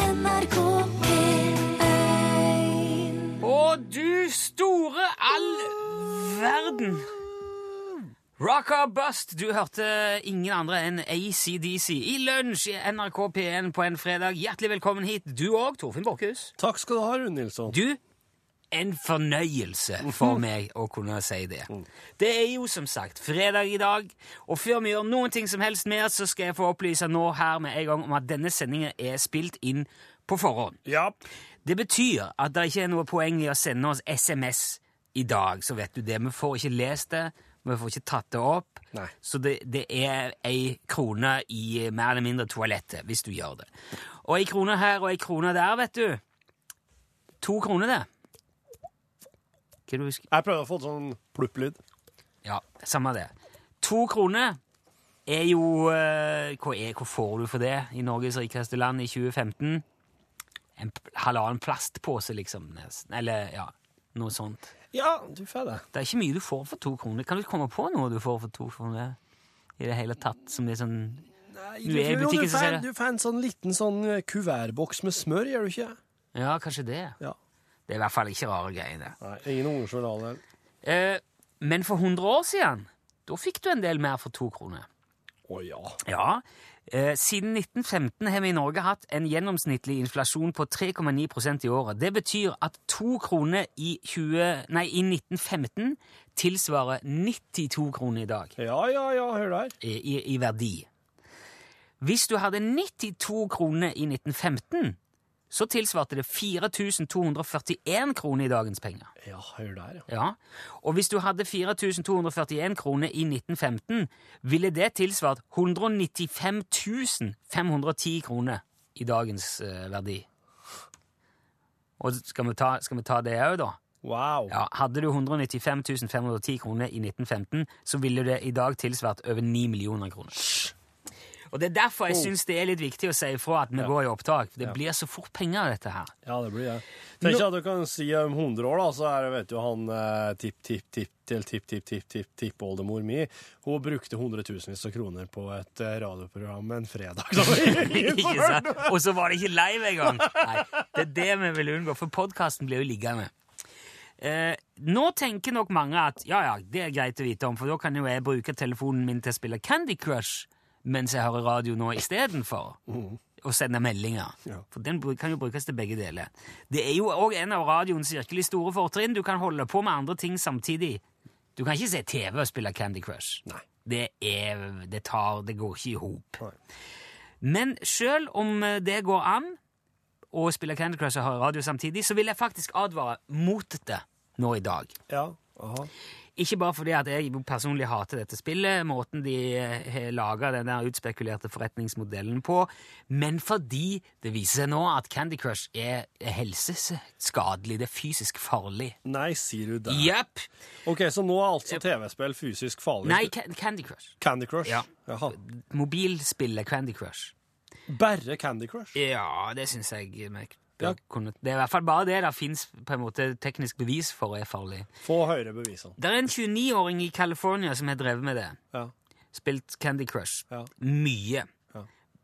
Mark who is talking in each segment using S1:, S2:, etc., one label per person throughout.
S1: NRK P1
S2: Og du store all verden! Rocker Bust, du hørte ingen andre enn ACDC i lunsj i NRK P1 på en fredag. Hjertelig velkommen hit, du òg, Torfinn Borkhus.
S3: Takk skal du ha, Rune Nilsson.
S2: Du, en fornøyelse for meg å kunne si det. Det er jo som sagt fredag i dag, og før vi gjør noen ting som helst mer, så skal jeg få opplyse nå her med en gang om at denne sendingen er spilt inn på forhånd.
S3: Ja.
S2: Det betyr at det ikke er noe poeng i å sende oss SMS i dag, så vet du det. Vi får ikke lest det, vi får ikke tatt det opp.
S3: Nei.
S2: Så det, det er ei krone i mer eller mindre toalettet, hvis du gjør det. Og ei krone her og ei krone der, vet du. To kroner, det. Hva er det du husker?
S3: Jeg prøvde å få en sånn plupplyd.
S2: Ja, samme det. To kroner er jo eh, hva, er, hva får du for det i Norges rikeste land i 2015? En p- halvannen plastpose, liksom. nesten. Eller ja, noe sånt.
S3: Ja, du får det.
S2: Det er ikke mye du får for to kroner. Kan du komme på noe du får for to kroner? I det hele tatt, som det er sånn
S3: Nei,
S2: Du er i
S3: jo,
S2: butikken,
S3: du
S2: så
S3: får-
S2: ser jeg.
S3: Du får en sånn liten sånn eh, kuvertboks med smør, gjør du ikke?
S2: Ja, kanskje det.
S3: Ja.
S2: Det er i hvert fall ikke rare greier, det.
S3: Nei, ingen unger som vil ha den.
S2: Eh, men for 100 år siden, da fikk du en del mer for to kroner.
S3: Å ja.
S2: Ja. Eh, siden 1915 har vi i Norge hatt en gjennomsnittlig inflasjon på 3,9 i året. Det betyr at to kroner i, 20, nei, i 1915 tilsvarer 92 kroner i dag
S3: Ja, ja, ja, hør der.
S2: i, i, i verdi. Hvis du hadde 92 kroner i 1915, så tilsvarte det 4241 kroner i dagens penger.
S3: Ja, hør der, ja.
S2: Ja, og hvis du hadde 4241 kroner i 1915, ville det tilsvart 195 510 kroner i dagens eh, verdi. Og skal vi ta, skal vi ta det òg, da?
S3: Wow.
S2: Ja, hadde du 195 510 kroner i 1915, så ville det i dag tilsvart over 9 millioner kroner. Og det er derfor jeg syns det er litt viktig å si ifra at vi går i opptak. Det blir så fort penger av dette her.
S3: Ja, det blir det. Tenk at du kan si om 100 år, da, så er det, vet du, han eh, tipp-tipp-tipp-tipp-tipp-tipp-tippoldemor mi, hun brukte hundretusenvis av kroner på et eh, radioprogram en fredag.
S2: Ikke sant? Og så var det ikke live engang! Nei, det er det vi vil unngå, for podkasten blir jo liggende. Eh, nå tenker nok mange at ja, ja, det er greit å vite om, for da kan jo jeg bruke telefonen min til å spille Candy Crush mens jeg hører radio nå istedenfor. Og sende meldinger.
S3: Ja.
S2: For den bru- kan jo brukes til begge deler. Det er jo òg en av radioens virkelig store fortrinn. Du kan holde på med andre ting samtidig. Du kan ikke se TV og spille Candy Crush.
S3: Nei.
S2: Det er Det tar Det går ikke i hop.
S3: Nei.
S2: Men sjøl om eh, det går an å spille Candy Crush og høre radio samtidig, så vil jeg faktisk advare mot det nå i dag.
S3: Ja, aha.
S2: Ikke bare fordi at jeg personlig hater dette spillet, måten de eh, har laga den der utspekulerte forretningsmodellen på, men fordi det viser seg nå at Candy Crush er helseskadelig. Det er fysisk farlig.
S3: Nei, sier du det.
S2: Jepp.
S3: Ok, så nå er altså TV-spill fysisk farlig.
S2: Nei, Ca- Candy Crush.
S3: Candy Crush?
S2: Ja.
S3: Jaha.
S2: Mobilspillet Candy Crush.
S3: Bare Candy Crush?
S2: Ja, det syns jeg vi bør
S3: Ja.
S2: kunne Det er i hvert fall bare det det fins teknisk bevis for er farlig.
S3: Få høre bevisene.
S2: Det er en 29-åring i California som har drevet med det.
S3: Ja.
S2: Spilt Candy Crush.
S3: Ja.
S2: Mye.
S3: Ja.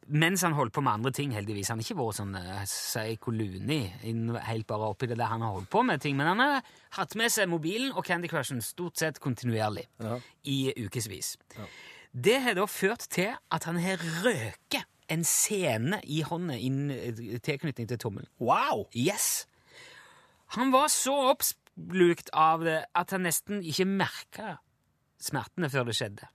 S2: Mens han holdt på med andre ting, heldigvis. Han har ikke vært sånn eh, Psycho Looney, inn- helt bare oppi det der han har holdt på med ting. Men han har hatt med seg mobilen og Candy Crushen stort sett kontinuerlig
S3: Ja.
S2: i ukevis. Det har da ført til at han har røket en sene i hånda i tilknytning til tommelen.
S3: Wow!
S2: Yes! Han var så oppslukt av det at han nesten ikke merka smertene før det skjedde.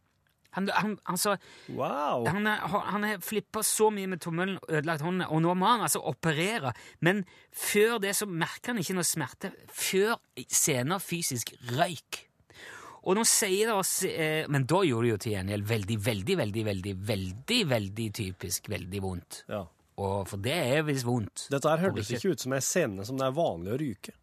S2: Han, han, altså,
S3: Wow!
S2: han, han har flippa så mye med tommelen og ødelagt hånda, og nå må han altså operere. Men før det så merker han ikke noe smerte før senere fysisk røyk. Og nå sier det oss eh, Men da gjorde det jo til gjengjeld veldig, veldig, veldig, veldig, veldig, veldig typisk veldig vondt.
S3: Ja.
S2: Og for det er visst vondt.
S3: Dette her
S2: Og
S3: hørtes ikke ut som ei scene som det er vanlig å ryke.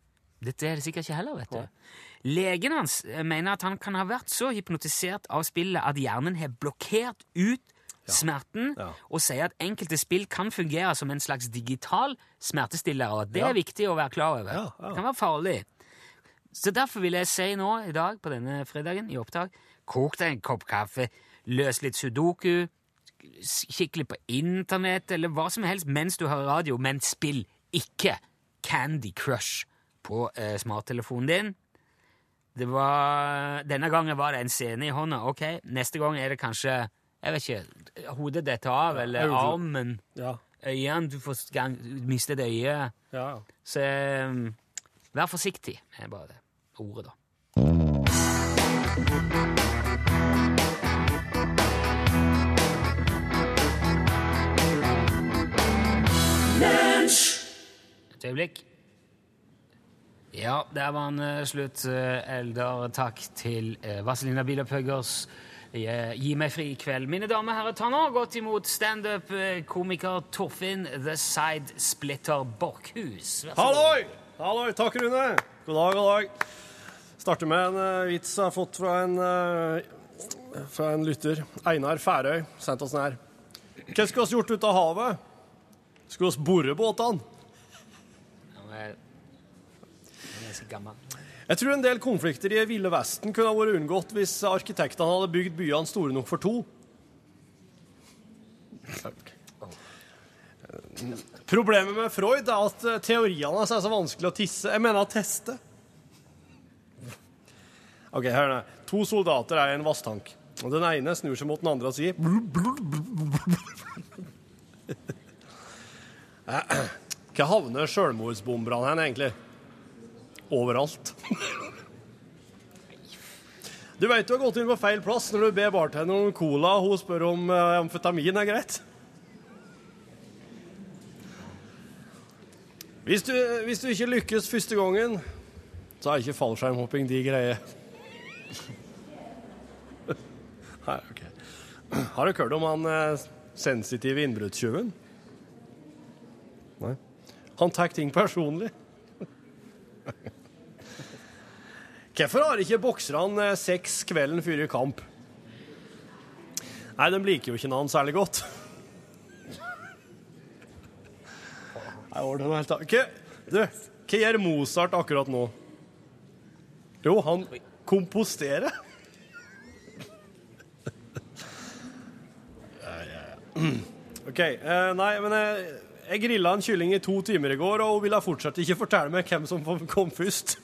S2: dette er det sikkert ikke heller, vet du. Legen hans eh, mener at han kan ha vært så hypnotisert av spillet at hjernen har blokkert ut smerten,
S3: Ja.
S2: og sier at enkelte spill kan fungere som en slags digital smertestiller, og at det
S3: Ja.
S2: er viktig å være klar over.
S3: Ja, ja.
S2: Det kan være farlig. Så derfor vil jeg si nå, i dag, på denne fredagen, i opptak, kok deg en kopp kaffe, løs litt sudoku, skikkelig på internett eller hva som helst mens du hører radio, men spill ikke Candy Crush på eh, smarttelefonen din. Det var, denne gangen var det en scene i hånda. Ok, neste gang er det kanskje jeg vet ikke, hodet detter av, eller
S3: hodet-
S2: armen,
S3: Ja.
S2: øynene, du får gang, mistet øyet.
S3: ja.
S2: Så um, vær forsiktig med bare det ordet, da. Et øyeblikk. Ja, der var han eh, slutt. eh, Eldar, takk til eh, Vazelina Bilopphøggers. Jeg- Gi meg fri i kveld. Mine damer og herrer, ta nå godt imot standup-komiker Torfinn The Side Splitter Borkhus. Vær så god.
S3: Halloi! Halloi! Takk, Rune. God dag, god dag. Starter med en eh, vits jeg har fått fra en, eh, fra en lytter. Einar Færøy sendte oss den her. Hva skulle oss gjort ut av havet? Skulle oss bore båtene?
S2: Han er, han er ganske gammel.
S3: Jeg tror en del konflikter i Ville Vesten kunne ha vært unngått hvis arkitektene hadde bygd byene store nok for to. Problemet med Freud er at eh, teoriene hans er så vanskelig å tisse. Jeg mener å teste. OK, hør nå. To soldater er i en vasstank. Og Den ene snur seg mot den andre og sier blub, blub, blub, blub. Hva havner sjølmordsbomberne hen, egentlig? overalt. Du vet du har gått inn på feil plass når du ber bartenderen om cola, og hun spør om eh, amfetamin er greit. Hvis du, hvis du ikke lykkes første gangen, så er ikke fallskjermhopping de greier. Nei, ok. Har du hørt om han eh, sensitive innbruddstyven? Nei. Han tar ting personlig. Hvorfor har ikke bokserne eh, sex kvelden før i kamp? Nei, de liker jo ikke noen særlig godt. Nei, var det noe helt annet? Hva- Du, hva gjør Mozart akkurat nå? Jo, han komposterer. Ja, ja, ja. OK. eh, Nei, men jeg, jeg grilla en kylling i to timer i går, og hun ville fortsatt ikke fortelle meg hvem som kom først.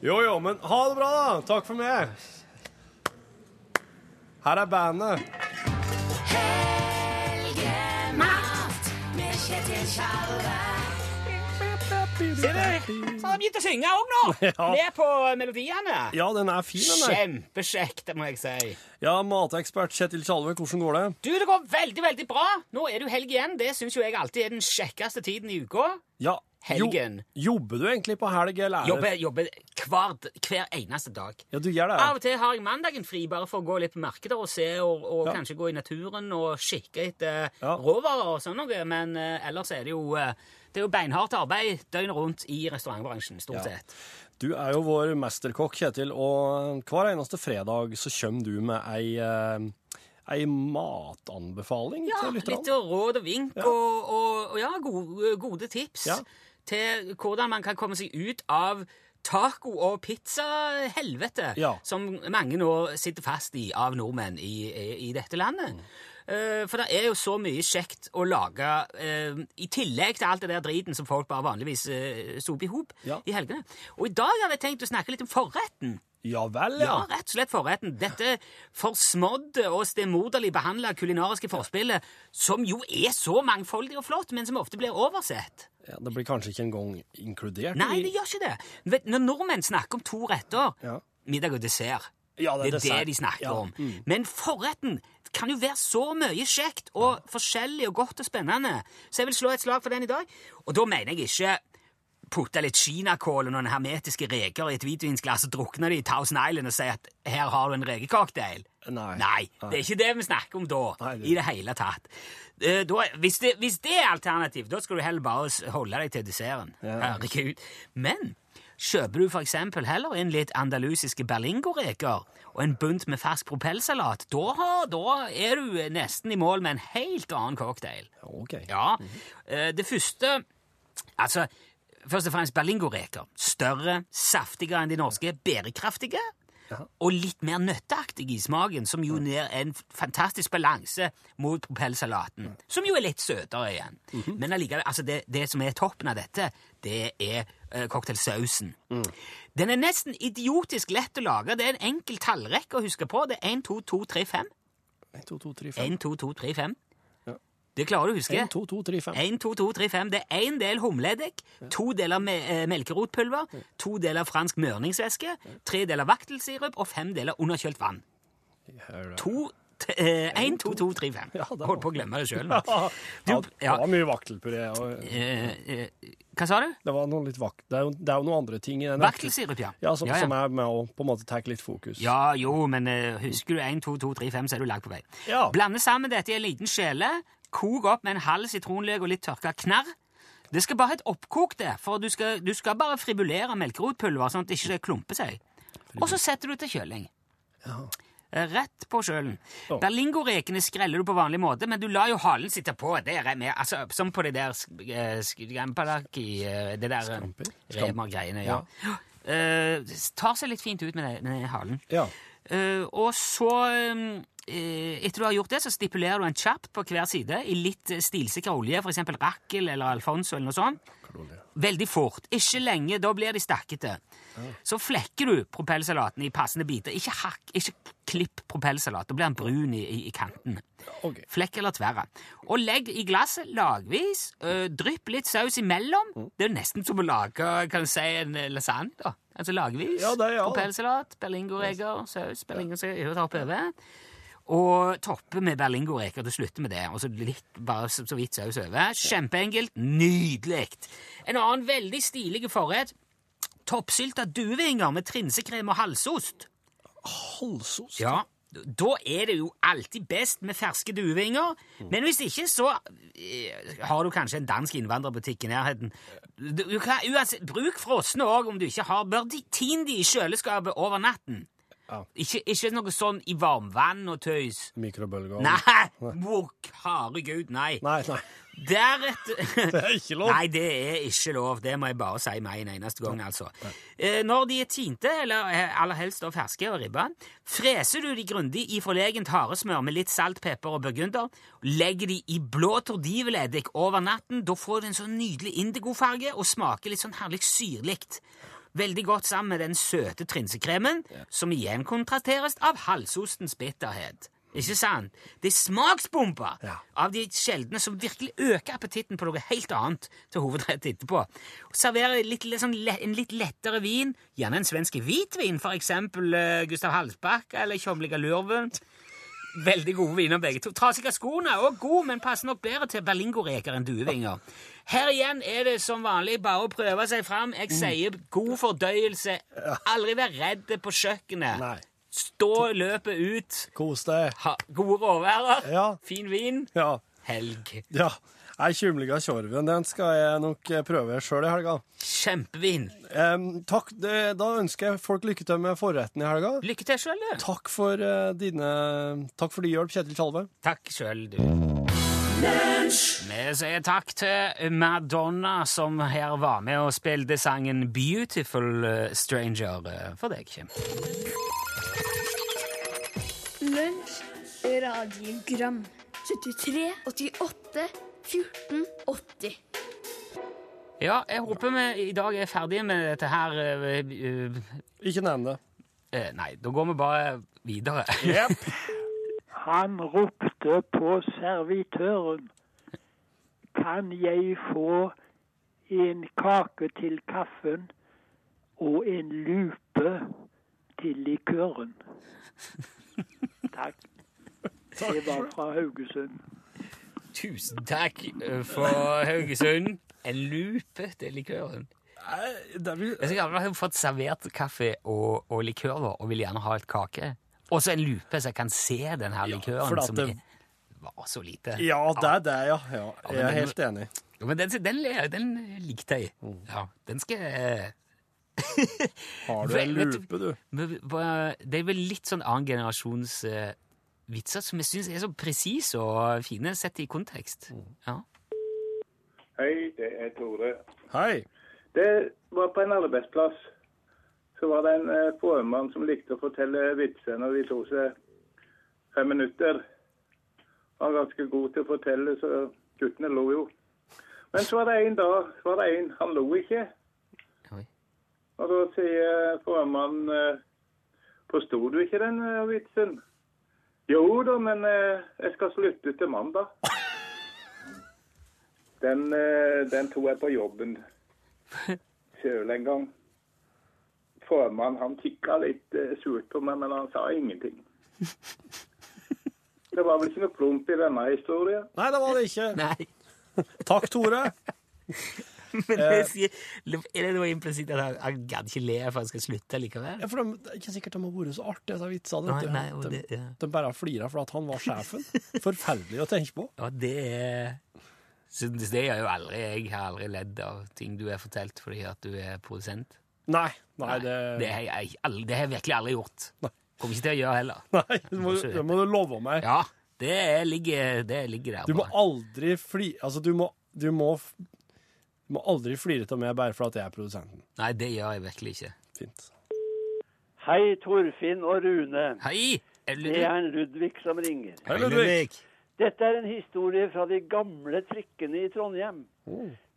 S3: Jo, jo, men ha det bra, da. Takk for meg. Her er bandet.
S1: Helgemat med Kjetil Sjalve.
S2: Ser du? Så har de begynt å synge òg nå!
S3: Ja.
S2: Med på melodiene.
S3: Ja, den er fin, den der.
S2: Kjempekjekt, det må jeg si.
S3: Ja, matekspert Kjetil Tjalve, hvordan går det?
S2: Du, det går veldig, veldig bra. Nå er det jo helg igjen. Det syns jo jeg alltid er den kjekkeste tiden i uka.
S3: Ja,
S2: Helgen.
S3: Jo, jobber du egentlig på helg, eller? er det-
S2: Jobber, jobber hver, hver eneste dag.
S3: Ja, du gjør det.
S2: Av
S3: ja.
S2: og til har jeg mandagen fri bare for å gå litt på markeder og se, og, og
S3: Ja.
S2: kanskje gå i naturen og kikke etter
S3: Ja.
S2: råvarer og sånn noe, men eh, ellers er det jo eh, det er jo beinhardt arbeid døgnet rundt i restaurantbransjen, stort
S3: Ja.
S2: sett.
S3: Du er jo vår mesterkokk, Kjetil, og hver eneste fredag så kommer du med ei, eh, ei matanbefaling
S2: Ja,
S3: til lytterne.
S2: litt råd og vink
S3: Ja.
S2: og, og, og ja, gode, gode tips
S3: Ja.
S2: til hvordan man kan komme seg ut av taco- og pizzahelvete
S3: Ja.
S2: som mange nå sitter fast i av nordmenn i, i, i dette landet. Eh, for det er jo så mye kjekt å lage eh, i tillegg til alt det der driten som folk bare vanligvis uh, soper i hop
S3: Ja.
S2: i helgene. Og i dag har jeg tenkt å snakke litt om forretten.
S3: Ja vel,
S2: Ja,
S3: ja.
S2: rett og slett forretten. Dette forsmådde og stemoderlig behandla kulinariske forspillet, som jo er så mangfoldig og flott, men som ofte blir oversett.
S3: ja. Det blir kanskje ikke engang inkludert?
S2: Nei,
S3: i-
S2: det gjør ikke det. Vet, når nordmenn snakker om to retter,
S3: Ja.
S2: middag og dessert,
S3: Ja, det er
S2: det er
S3: dessert.
S2: det de snakker
S3: Ja, Mm.
S2: om. Men forretten kan jo være så mye kjekt og forskjellig og godt og spennende, så jeg vil slå et slag for den i dag. Og da mener jeg ikke putte litt kinakål og noen hermetiske reker i et hvitvinsglass og drukne det i Thousand Island og si at her har du en rekecocktail.
S3: Nei.
S2: Nei, det er ikke det vi snakker om da,
S3: Nei, det-
S2: i det hele tatt. Eh, da, hvis, det, hvis det er alternativ, da skal du heller bare s- holde deg til desserten.
S3: Ja.
S2: Herregud. Men kjøper du for eksempel heller inn litt andalusiske berlingoreker og en bunt med fersk propellsalat, da, har- da er du nesten i mål med en helt annen cocktail.
S3: Ok.
S2: Ja, eh, det første Altså, først og fremst berlingoreker. Større, saftigere enn de norske, bærekraftige. og litt mer nøtteaktig i smaken, som jo gir en fantastisk balanse mot propellsalaten, som jo er litt søtere igjen. Men allikevel, altså det, det som er toppen av dette, det er eh, cocktailsausen. Den er nesten idiotisk lett å lage. Det er en enkel tallrekke å huske på. Det er 1, 2, 2, 3, 5.
S3: 1, 2, 2, 3, 5.
S2: 1, 2, 2, 3, 5.
S3: Ja.
S2: Det klarer du å huske.
S3: 1, 2, 2, 3, 5.
S2: 1, 2, 2, 3, 5. Det er én del humleeddik, to deler me eh, melkerotpulver, to deler fransk mørningsvæske, tre deler vaktelsirup og fem deler underkjølt vann. To, t eh, 1, 2, 2, 3, 5.
S3: Ja, det var-
S2: Holdt på å glemme det sjøl.
S3: Det var mye vaktelpuré. og-
S2: Eh, Hva sa du?
S3: Det, var noen litt vak det, er jo, det er jo noen andre ting i den
S2: Vaktelsirup, ja.
S3: Ja, som,
S2: ja,
S3: som
S2: ja.
S3: er med å på en måte ta litt fokus.
S2: ja, jo, men eh, husker du 1, 2, 2, 3, 5, så er du langt på vei.
S3: Ja.
S2: Blande sammen dette i en liten skjele. Kok opp med en halv sitronløk og litt tørka knarr. Det skal bare et oppkok, det, for du skal, du skal bare fribulere melkerotpulver sånn at det ikke klumper seg. Og så setter du til kjøling. Eh, Rett på kjølen.
S3: Ja.
S2: Berlingorekene skreller du på vanlig måte, men du lar jo halen sitte på. Det er med, altså, som på det der sk- eh, sk- skampalaki, eh, det der eh,
S3: Scampi? Scamp-
S2: remer-greiene. Ja. Eh, tar seg litt fint ut med, det, med halen.
S3: Ja.
S2: Eh, og så um, eh, Etter du har gjort det, så stipulerer du en kjapp på hver side i litt eh, stilsikker olje, f.eks. Rackel eller Alfonso eller noe sånt. Veldig fort. Ikke lenge, da blir de stakkete. Så flekker du propellsalaten i passende biter. Ikke hakk, ikke klipp propellsalat. Da blir den brun i, i, i kanten.
S3: Ok.
S2: Flekk eller tverre. Og legg i glasset lagvis. øh, Drypp litt saus imellom.
S3: Mm.
S2: Det er jo nesten som å lage kan du si, en eh, lasagne. da. Altså lagvis.
S3: Ja, det er, ja.
S2: Propellsalat, berlingoreker, saus, berlingoreker og hoppe over. Og toppe med berlingoreker. Du slutter med det. Og så litt, bare så, så vidt saus over. Kjempeenkelt. Nydelig. En annen veldig stilig forrett. Toppsylta duevinger med trinsekrem og halsost.
S3: Halsos.
S2: Ja, da er det jo alltid best med ferske duevinger. Men hvis ikke, så eh, har du kanskje en dansk innvandrerbutikk i nærheten. Du, du kan, uansett, bruk frosne òg om du ikke har. Bør de tine de i kjøleskapet over natten.
S3: Ja.
S2: Ikke, ikke noe sånn i varmvann og tøys.
S3: Mikrobølger.
S2: Nei! Wok, herregud, nei.
S3: Nei, nei.
S2: Deretter
S3: Det er ikke lov.
S2: Nei, det er ikke lov. Det må jeg bare si med en eneste gang, altså. Eh, Når de er tinte, eller eh, aller helst da ferske og ribba, freser du de grundig i forlegent haresmør med litt salt, pepper og burgunder. Legger de i blå tordiveleddik over natten. Da får du en sånn nydelig indigofarge og smaker litt sånn herlig syrlig. Veldig godt sammen med den søte trinsekremen, som igjen kontrasteres av halsostens bitterhet. Ikke sant? Det er smaksbomber
S3: Ja.
S2: av de sjeldne som virkelig øker appetitten på noe helt annet til hovedrett etterpå. Og serverer litt, litt sånn, le- en litt lettere vin, gjerne en svensk hvitvin, for eksempel eh, Gustav Halsbakka eller Tjomliga Lurven. Veldig gode viner begge to. Trasig av skoene, og god, men passer nok bedre til berlingoreker enn duevinger. Her igjen er det som vanlig bare å prøve seg fram. Jeg sier god fordøyelse. Aldri vær redd på kjøkkenet.
S3: Nei.
S2: Stå løpet ut.
S3: Kos deg.
S2: Ha gode råværer.
S3: Ja.
S2: Fin vin.
S3: Ja.
S2: Helg.
S3: ja. Nei, Tjumliga tjorven, den skal jeg nok eh, prøve sjøl i helga.
S2: Kjempevin.
S3: Em, takk. Det, da ønsker jeg folk lykke til med forretten i helga.
S2: Lykke til sjøl, du.
S3: Takk for eh, dine Takk for din hjelp, Kjetil Tjalve.
S2: Takk sjøl, du. Vi sier takk til Madonna, som her var med og spilte sangen 'Beautiful eh, Stranger' eh, for deg. Kim.
S4: Lunsj, radiogram 73, 88, 14, 80
S2: Ja, jeg håper vi i dag er ferdige med dette her eh, eh,
S3: Ikke nevn det.
S2: eh, Nei, da går vi bare videre.
S5: Han ropte på servitøren. Kan jeg få en kake til kaffen og en lupe til likøren? Takk. Det var fra Haugesund.
S2: Tusen takk eh, for Haugesund. En lupe til likøren. Jeg skulle gjerne fått servert kaffe og, og likører, og vil gjerne ha et kake. Og så en lupe, så jeg kan se den her likøren
S3: for at
S2: som
S3: det-
S2: er, var så lite.
S3: Ja, det er det, ja. ja. Jeg er helt enig.
S2: Jo, Men den, den, den likte jeg.
S3: Mm.
S2: Ja, den skal jeg
S3: Har du en
S2: Vel, vet du-
S3: lupe, du?
S2: Men hva- Det er vel litt sånn annen generasjons eh, vitser som jeg syns er så presise og fine, sett i kontekst.
S3: Mm.
S2: Ja.
S6: Hei, det er Tore.
S3: Hei.
S6: Det var på en arbeidsplass. så var det en eh, formann som likte å fortelle vitser når de tok seg fem minutter. Han var ganske god til å fortelle, så guttene lo jo. Men så var det en dag, så var det en, han lo ikke.
S2: Oi.
S6: Og da sier formannen eh, Forsto du ikke den eh, vitsen? Jo da, men eh, jeg skal slutte til mandag. Den, eh, den tok jeg på jobben sjøl en gang. Formannen han tikka litt eh, surt på meg, men han sa ingenting. Det var vel ikke noe plump i denne historien.
S3: Nei, det var det ikke.
S2: Nei.
S3: Takk, Tore. Eh.
S2: Men jeg sier, er det noe implisitt at han, han gadd ikke le for han skal slutte likevel?
S3: Ja, for de, det er ikke sikkert de har vært så artige, disse vitsene. vet
S2: Nei,
S3: du.
S2: nei, og
S3: de,
S2: det- ja.
S3: de bare flirer fordi at han var sjefen. Forferdelig å tenke på.
S2: Ja, det er så Det gjør jo aldri jeg. har aldri ledd av ting du har fortalt fordi at du er produsent.
S3: Nei, nei, det
S2: Det har jeg, aldri- det har jeg virkelig aldri gjort.
S3: Nei.
S2: Kommer ikke til å gjøre heller.
S3: Nei, det må, det må du love meg.
S2: Ja, det er- ligger, det ligger der.
S3: Du må
S2: bare.
S3: aldri fli... Altså, du må, du må, f- du må aldri flire til meg bare fordi at jeg er produsenten.
S2: Nei, det gjør jeg virkelig ikke.
S3: Fint.
S5: Hei, Torfinn og Rune.
S2: Hei! Er du-
S5: Det er en Ludvig som ringer.
S3: Hei, Ludvig.
S5: Dette er en historie fra de gamle trikkene i Trondheim.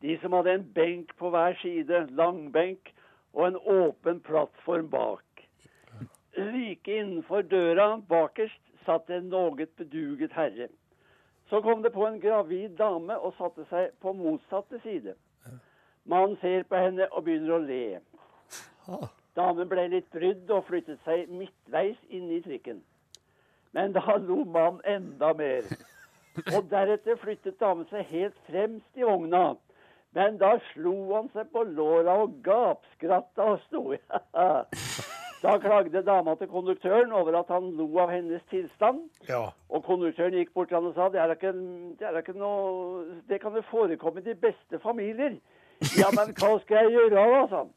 S5: De som hadde en benk på hver side, langbenk, og en åpen plattform bak. Like innenfor døra bakerst satt en noe beduget herre. Så kom det på en gravid dame og satte seg på motsatte side. Mannen ser på henne og begynner å le. Damen ble litt brydd og flyttet seg midtveis inn i trikken. Men da lo mannen enda mer. Og deretter flyttet damen seg helt fremst i vogna. Men da slo han seg på låra og gapskratta og sto i. Da klagde dama til konduktøren over at han lo av hennes tilstand.
S3: Ja.
S5: Og konduktøren gikk bort til han og sa det er da ikke, det er da ikke noe Det kan jo forekomme i de beste familier. Ja, men hva skal jeg gjøre da, sa han.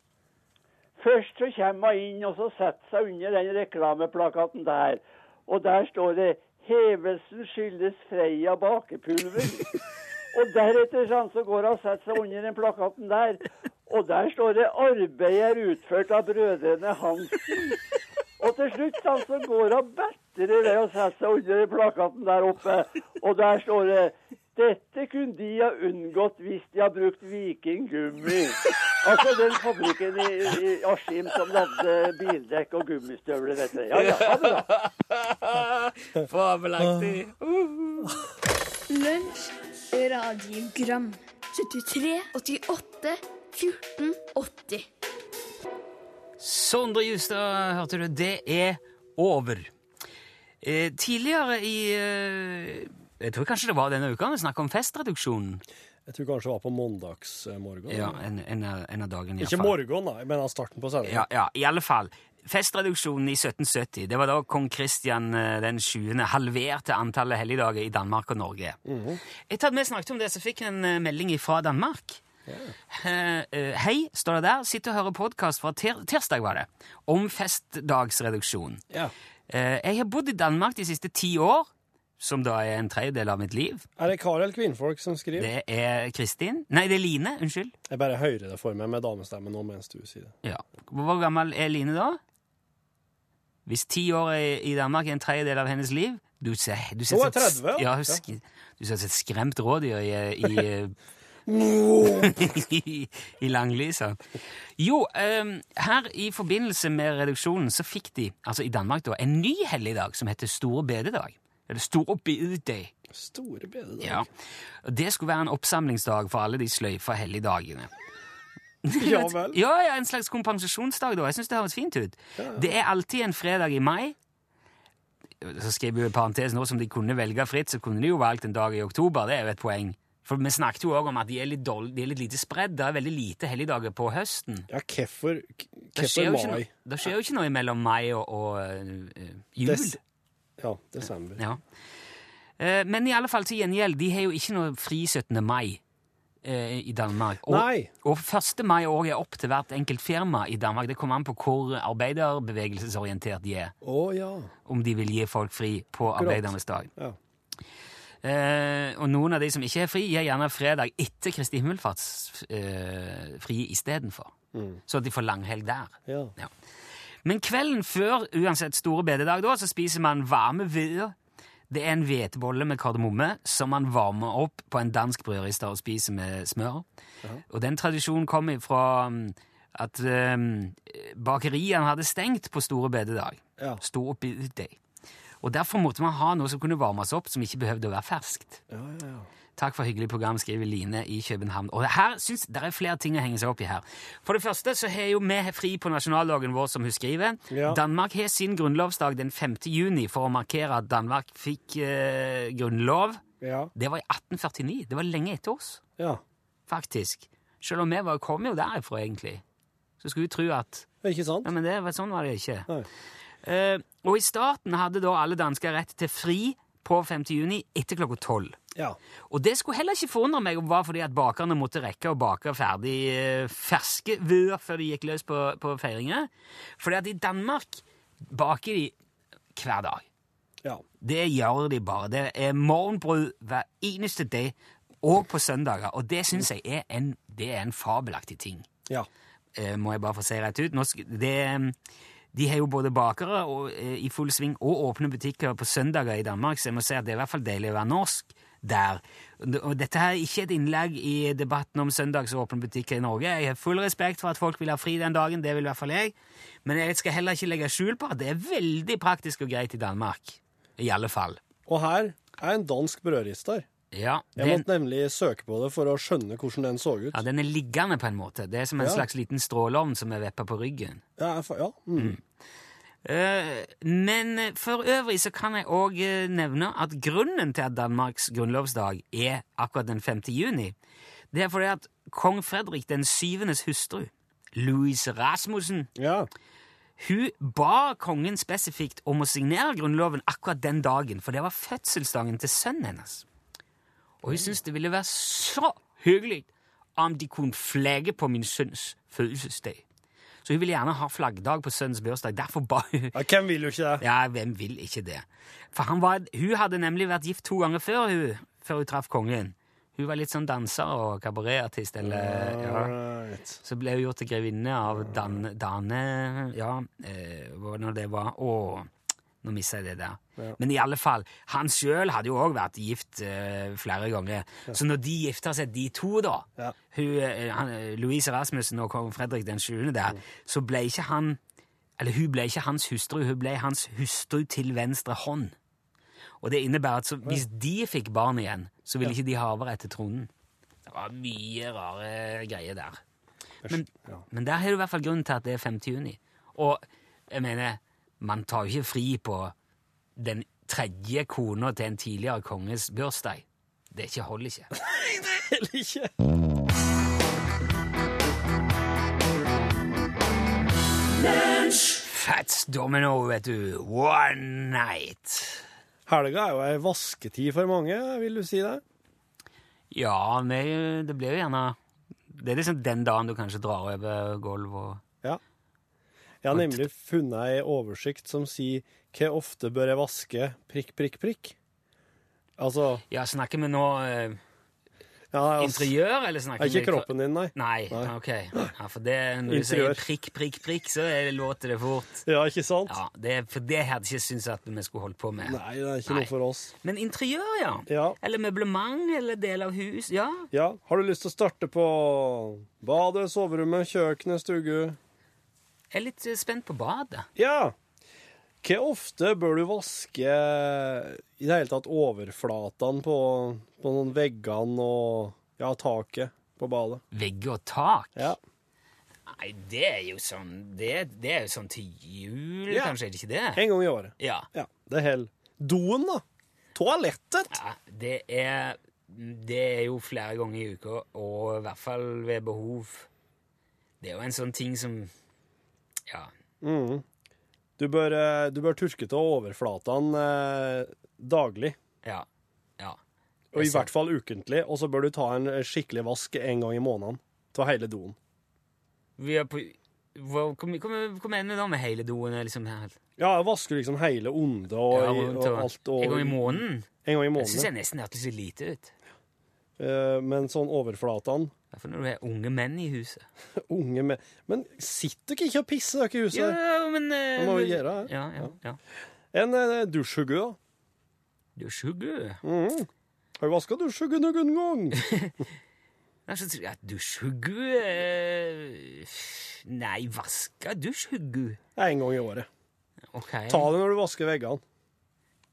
S5: Først så kommer hun inn og så setter seg under den reklameplakaten der. Og der står det 'Hevelsen skyldes Freia bakepulver'. Og deretter sånn, så går hun og setter seg under den plakaten der. Og der står det 'Arbeidet er utført av brødrene Hansen'. Og til slutt sånn, så går han bedre det og setter seg under plakaten der oppe. Og der står det dette kunne de ha unngått hvis de har brukt vikinggummi. Altså den fabrikken i, i Askim som lagde bildekk og gummistøvler, vet du. Ja, ja, ha det da.
S2: Fabelaktig!
S4: Lunsj radiogram 73 88 14 80
S2: Sondre Justad, hørte du, det er over. Eh, tidligere i eh, Jeg tror kanskje det var denne uka vi snakket om festreduksjonen.
S3: Jeg tror kanskje det var på mandagsmorgen.
S2: Ja, en, en, av- en av dagen i hvert
S3: Ikke
S2: fall.
S3: morgen, da, men starten på sendingen.
S2: Ja, ja, i alle fall. Festreduksjonen i 1770, det var da kong Kristian eh, den 7. halverte antallet helligdager i Danmark og Norge. Etter at vi snakket om det, så fikk jeg en eh, melding fra Danmark. Eh, eh, Hei, står det der, sitter og hører podkast fra ter tirsdag, var det, om festdagsreduksjon.
S3: Ja.
S2: Eh, Jeg har bodd i Danmark de siste ti år, som da er en tredjedel av mitt liv.
S3: Er det kar eller kvinnfolk som skriver?
S2: Det er Kristin Nei, det er Line, unnskyld.
S3: Jeg bare hører det for meg med damestemmen nå mens du sier det.
S2: Ja. Hvor gammel er Line da? Hvis ti år er i Danmark er en tredjedel av hennes liv du ser, du ser
S3: Hun er
S2: som et-
S3: 30, ja.
S2: Ja, hun sk- du ser som et skremt rådyr i, i, i, i langlysa. Jo, ehm, her i forbindelse med reduksjonen så fikk de, altså i Danmark da, en ny helligdag som heter Store bededag. Eller Store bededag.
S3: Store bededag.
S2: Ja. Og Det skulle være en oppsamlingsdag for alle de sløyfa helligdagene.
S3: ja vel.
S2: Ja, ja, en slags kompensasjonsdag, da. Jeg syns det høres fint ut. Det er alltid en fredag i mai. Så skriver jeg i parentes nå som de kunne velge fritt, så kunne de jo valgt en dag i oktober. Det er jo et poeng. For vi snakket jo òg om at de er litt, dårlig, de er litt lite spredd. Det er veldig lite helligdager på høsten.
S3: Ja, hvorfor
S2: Det skjer,
S3: Hvorfor
S2: jo ikke
S3: mai?
S2: noe, det skjer jo ikke noe mellom mai og, og eh, eh, jul.
S3: Des- Ja, desember.
S2: Ja. Eh, Men i alle fall til gjengjeld, de har jo ikke noe fri 17. mai eh, i Danmark. Og,
S3: Nei.
S2: og 1. mai òg er opp til hvert enkelt firma i Danmark. Det kommer an på hvor arbeiderbevegelsesorientert de er,
S3: Å ja.
S2: om de vil gi folk fri på arbeidernes dag.
S3: Ja.
S2: Eh, Eh, og noen av de som ikke har fri, gir gjerne fredag etter Kristi himmelfarts eh, fri istedenfor. Så at de får langhelg der.
S3: Ja.
S2: Ja. Men kvelden før uansett store bededag, da, så spiser man varme hveder. Det er en hvetebolle med kardemomme som man varmer opp på en dansk brødrister og spiser med smør. Og den tradisjonen kom fra at um, bakeriene hadde stengt på store bededag.
S3: Ja.
S2: Sto opp i utdeig. Og derfor måtte man ha noe som kunne varmes opp, som ikke behøvde å være ferskt. Takk for hyggelig program, skriver Line i København. Og her synes Det er flere ting å henge seg opp i her. For det første så har jo vi fri på nasjonaldagen vår, som hun skriver.
S3: Ja.
S2: Danmark har sin grunnlovsdag den 5. juni for å markere at Danmark fikk eh, grunnlov.
S3: Ja.
S2: Det var i 1849. Det var lenge etter oss,
S3: ja.
S2: faktisk. Selv om vi var, kom jo derifra, egentlig. Så skulle vi tro at
S3: Ikke sant?
S2: Nei, men det, var- sånn var det ikke.
S3: Nei.
S2: Eh, og i starten hadde da alle dansker rett til fri på 5. juni etter klokka 12.
S3: Ja.
S2: Og det skulle heller ikke forundre meg om var fordi at bakerne måtte rekke å bake ferdig eh, ferske vøer før de gikk løs på, på feiringer. Fordi at i Danmark baker de hver dag.
S3: ja.
S2: Det gjør de bare. Det er morgenbrød hver eneste dag, og på søndager. Og det syns jeg er en, det er en fabelaktig ting
S3: ja.
S2: eh, må jeg bare få si rett ut. Nå sk- det, eh, de har jo både bakere og, eh, i full sving og åpne butikker på søndager i Danmark, så jeg må si at det er i hvert fall deilig å være norsk der. Og dette her er ikke et innlegg i debatten om søndagsåpne butikker i Norge. Jeg har full respekt for at folk vil ha fri den dagen, det vil i hvert fall jeg. Men jeg skal heller ikke legge skjul på at det er veldig praktisk og greit i Danmark. I alle fall.
S3: Og her er en dansk brødrister.
S2: Ja,
S3: Jeg
S2: det er-
S3: måtte nemlig søke på det for å skjønne hvordan den så ut.
S2: ja, den er liggende på en måte. Det er som en
S3: Ja.
S2: slags liten stråleovn som er veppa på ryggen.
S3: Ja, jeg fa- ja. Mm.
S2: Eh, Men eh, for øvrig så kan jeg òg nevne at grunnen til at Danmarks grunnlovsdag er akkurat den 5. juni, det er fordi at kong Fredrik den syvendes hustru, Louise Rasmussen,
S3: ja.
S2: hun ba kongen spesifikt om å signere grunnloven akkurat den dagen, for det var fødselsdagen til sønnen hennes. Og hun syntes det ville være så hyggelig om de kunne flagge på min sønns fødselsdag. Så hun ville gjerne ha flaggdag på sønnens bursdag. Derfor ba hun
S3: ja. Hvem vil jo ikke det?
S2: ja, hvem vil ikke det? For han var, hun hadde nemlig vært gift to ganger før hun, før hun traff kongen. Hun var litt sånn danser og kabaretartist, eller ja.
S3: Right.
S2: Så ble hun gjort til grevinne av Dan, Dane Ja, eh, hva nå det var Å, nå mista jeg det der. Men i alle fall, han sjøl hadde jo òg vært gift eh, flere ganger. Så når de gifta seg, de to, da
S3: Ja.
S2: hun, eh, han, eh, Louise Rasmussen og kong Fredrik den 7. der, så ble ikke han Eller hun ble ikke hans hustru, hun ble hans hustru til venstre hånd. Og det innebærer at så, hvis de fikk barn igjen, så ville ikke de ha arverett til tronen. Det var mye rare greier der. Men,
S3: ja.
S2: men der har du i hvert fall grunnen til at det er 5. juni. Og jeg mener, man tar jo ikke fri på den tredje kona til en tidligere konges bursdag. Det er ikke holder ikke.
S3: Eller ikke.
S2: Fats domino, vet du. One night.
S3: Helga er jo ei vasketid for mange, vil du si det?
S2: Ja, men det blir jo gjerne Det er liksom den dagen du kanskje drar over gulv og
S3: Ja. Jeg har nemlig funnet ei oversikt som sier hvor ofte bør jeg vaske prikk, prikk, prikk. Altså,
S2: Ja, snakker vi nå eh,
S3: ja, altså
S2: interiør, eller snakker vi
S3: Ikke kroppen din, Altså, nei.
S2: Nei,
S3: Nei.
S2: ok. Ja, for det, når du
S3: Interiør.
S2: sier prikk, prikk, prikk, så er det- låter det fort.
S3: Ja, ikke sant?
S2: Ja, det, for det hadde jeg ikke syntes at vi skulle holdt på med.
S3: Nei, det er ikke
S2: Nei.
S3: noe for oss.
S2: Men interiør, ja.
S3: Ja.
S2: Eller møblement, eller del av hus. Ja,
S3: Ja, har du lyst til å starte på badet, soverommet, kjøkkenet, stugu?
S2: jeg er litt eh, spent på badet.
S3: Ja. Hvor ofte bør du vaske i det hele tatt overflatene på, på noen veggene og ja, taket på badet?
S2: Vegger og tak.
S3: Ja.
S2: Nei, det er jo sånn Det, det er jo sånn til jul,
S3: Ja.
S2: kanskje, er det ikke det?
S3: En gang i året.
S2: Ja.
S3: Ja, det holder. Doen, da. Toalettet.
S2: ja. Det er Det er jo flere ganger i uka, og i hvert fall ved behov. Det er jo en sånn ting som Ja.
S3: Du bør, eh, du bør turke til overflatene eh, daglig,
S2: Ja. ja.
S3: og i
S2: Jeg ser.
S3: hvert fall ukentlig, og så eh, bør du ta en skikkelig vask en gang i måneden av hele doen.
S2: Vi er på Wow, Hvor mye- hvor mye- hvor mye mener du da med hele doen? er Liksom, her?
S3: Ja, jeg vasker liksom hele onde og,
S2: Ja,
S3: i-
S2: rundt
S3: og
S2: og-
S3: alt. Og,
S2: en gang i måneden?
S3: En gang i
S2: Det syns jeg
S3: måneden.
S2: nesten hørtes litt lite ut.
S3: Eh, Men sånn overflatene
S2: Derfor når du er unge menn i huset.
S3: Unge med Men sitter dere ikke og pisser dere i huset?
S2: Ja, ja, men eh,
S3: Hva må vi
S2: men-
S3: gjøre, eh?
S2: Ja, ja, ja.
S3: En eh, dusjhugge, da.
S2: Du er sugge.
S3: Mm. Har du vaska dusjhuggen noen gang?
S2: Altså, tror jeg at dusjhuggu eh, Nei, vaska dusjhuggu?
S3: Nei, En gang i året.
S2: Ok.
S3: Ta det når du vasker veggene.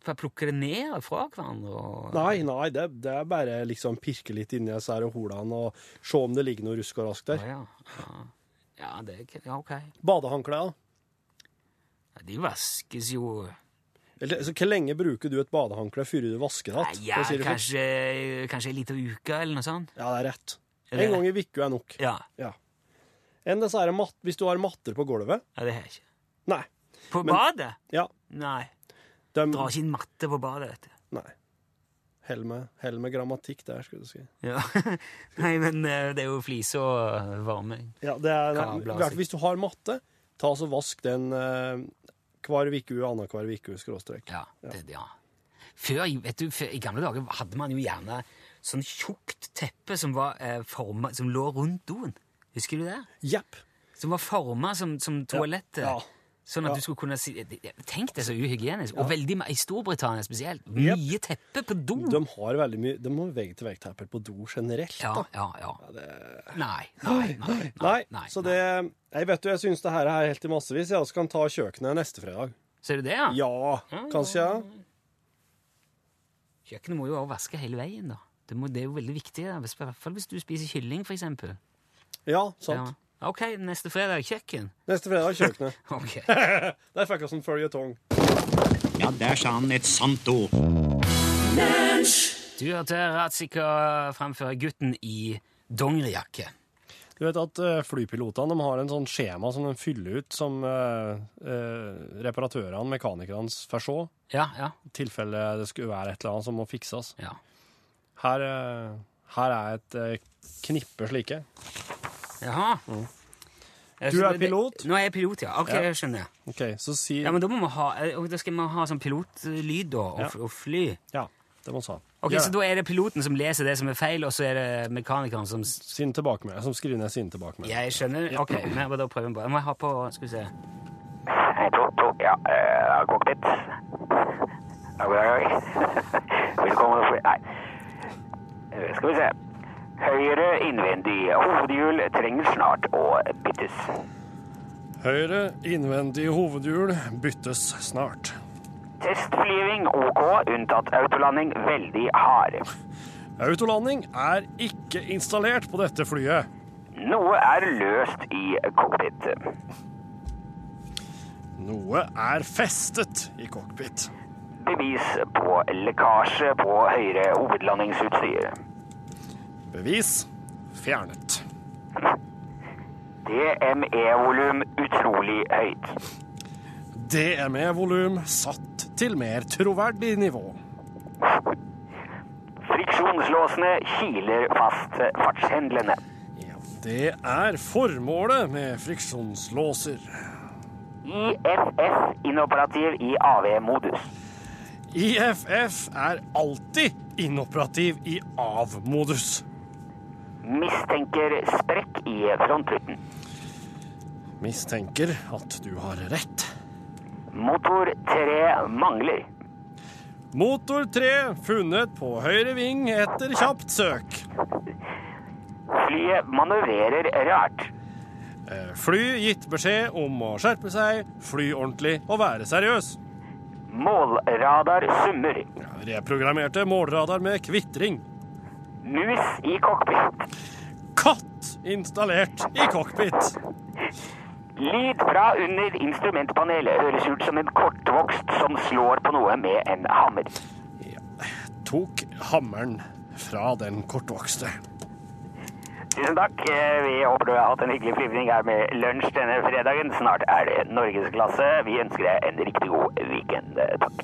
S2: For jeg plukker det ned fra hverandre og
S3: Nei, nei, det, det er bare liksom pirke litt inni disse her holene og se om det ligger noe rusk og rask
S2: Å,
S3: der.
S2: ja. ja. ja, det er ikke- Ja, ok.
S3: Badehåndklær, da.
S2: Ja, de vaskes jo
S3: Eller, altså, hvor lenge bruker du et badehåndkle før du vasker det?
S2: Nei, ja,
S3: For å si det først.
S2: kanskje, kanskje en liten uke eller noe sånt.
S3: Ja, det er rett.
S2: Er det-
S3: En gang i uka er nok.
S2: Ja,
S3: Ja. Enn disse her mat, hvis du har matter på gulvet.
S2: ja det har jeg ikke.
S3: Nei.
S2: På
S3: Men-
S2: badet?
S3: Ja.
S2: Nei.
S3: De,
S2: Drar ikke inn matte på badet, vet du.
S3: nei. Hell med, hell med grammatikk der, skulle du si.
S2: Ja. Nei, men eh, det er jo flise og eh, varme.
S3: Ja, det er,
S2: Kabler,
S3: i hvert
S2: sikkert.
S3: fall hvis du har matte, ta så vask den eh, hver uke, annenhver uke, skråstrek.
S2: Ja, det, ja. Før, vet du, før, I gamle dager hadde man jo gjerne sånn tjukt teppe som, var, eh, forma, som lå rundt doen. Husker du det?
S3: Jepp.
S2: Som var forma som, som toalettet.
S3: Ja.
S2: Sånn at
S3: Ja.
S2: du skulle kunne si Tenk det så uhygienisk. Og veldig ma- i Storbritannia spesielt. Mye
S3: Jep.
S2: teppe på do.
S3: De har veldig mye De har vegg-til-vegg-tepper på do generelt.
S2: Ja,
S3: da.
S2: ja, ja. Nei, nei, nei.
S3: Nei,
S2: nei,
S3: så det Jeg vet du, jeg syns det her er helt i massevis. Jeg også kan ta kjøkkenet neste fredag.
S2: Ser du det, ja?
S3: Ja, kanskje jeg.
S2: Kjøkkenet må jo også vaske hele veien, da. Det, må, det er jo veldig viktig, da. Hvis- i hvert fall hvis du spiser kylling, for eksempel.
S3: Ja, sant.
S2: Ja. Ok, neste fredag kjøkken.
S3: Neste fredag kjøkkenet.
S2: Ok.
S3: Der fikk jeg sånn føljetong.
S7: Ja, der sa han et sant ord.
S2: Du hørte Ratzika fremføre gutten i dongerijakke.
S3: Du vet at eh, flypilotene de har en sånn skjema som de fyller ut, som eh, eh, reparatørene, mekanikerne, får se.
S2: Ja, ja,
S3: I tilfelle det skulle være et eller annet som må fikses.
S2: ja.
S3: Her, eh, her er et eh, knippe slike.
S2: Jaha.
S3: Mm. Du er pilot?
S2: Nå er jeg pilot, ja. Ok,
S3: Ja.
S2: jeg skjønner.
S3: OK, så si
S2: Ja, men da må vi ha, og da skal vi ha sånn pilotlyd da, og,
S3: Ja.
S2: f- og fly.
S3: Ja, det må vi ha.
S2: Ok,
S3: Gjør
S2: så
S3: det.
S2: da er det piloten som leser det som er feil, og så er det mekanikeren som... s-
S3: Sin tilbakemelding. Som skriver ned sine tilbakemeldinger.
S2: Jeg skjønner. Ok, men da prøver vi bare. Må jeg ha på, skal vi se.
S8: To, to, ja, eh, det har kokt litt. Ja, god dag. Velkommen opp. Nei. Eh, Skal vi se. Høyre innvendig hovedhjul trenger snart å byttes.
S3: Høyre innvendig hovedhjul byttes snart.
S8: Testflyving OK, unntatt autolanding veldig hard.
S3: Autolanding er ikke installert på dette flyet.
S8: Noe er løst i cockpit.
S3: Noe er festet i cockpit.
S8: Bevis på lekkasje på høyre hovedlandingsutstyr.
S3: Bevis fjernet.
S8: DME-volum utrolig høyt.
S3: DME-volum E satt til mer troverdig nivå.
S8: Friksjonslåsene kiler fast fartshendlene.
S3: Det er formålet med friksjonslåser.
S8: IFF inoperativ i AV-modus.
S3: IFF er alltid inoperativ i av-modus.
S8: Mistenker sprekk i frontruten.
S3: Mistenker at du har rett.
S8: Motor 3 mangler.
S3: Motor 3 funnet på høyre ving etter kjapt søk.
S8: Flyet manøvrerer rart.
S3: Eh, Fly gitt beskjed om å skjerpe seg, fly ordentlig og være seriøs.
S8: Målradar summer.
S3: Reprogrammerte målradar med kvitring.
S8: Mus i cockpit.
S3: Katt installert i cockpit.
S8: Lyd fra under instrumentpanelet høres ut som en kortvokst som slår på noe med en hammer.
S3: Tok hammeren fra den kortvokste.
S8: Tusen takk. Eh, Vi håper du har hatt en hyggelig flyvning her med lunsj denne fredagen. Snart er det norgesklasse. Vi ønsker deg en riktig god weekend. Eh, Takk.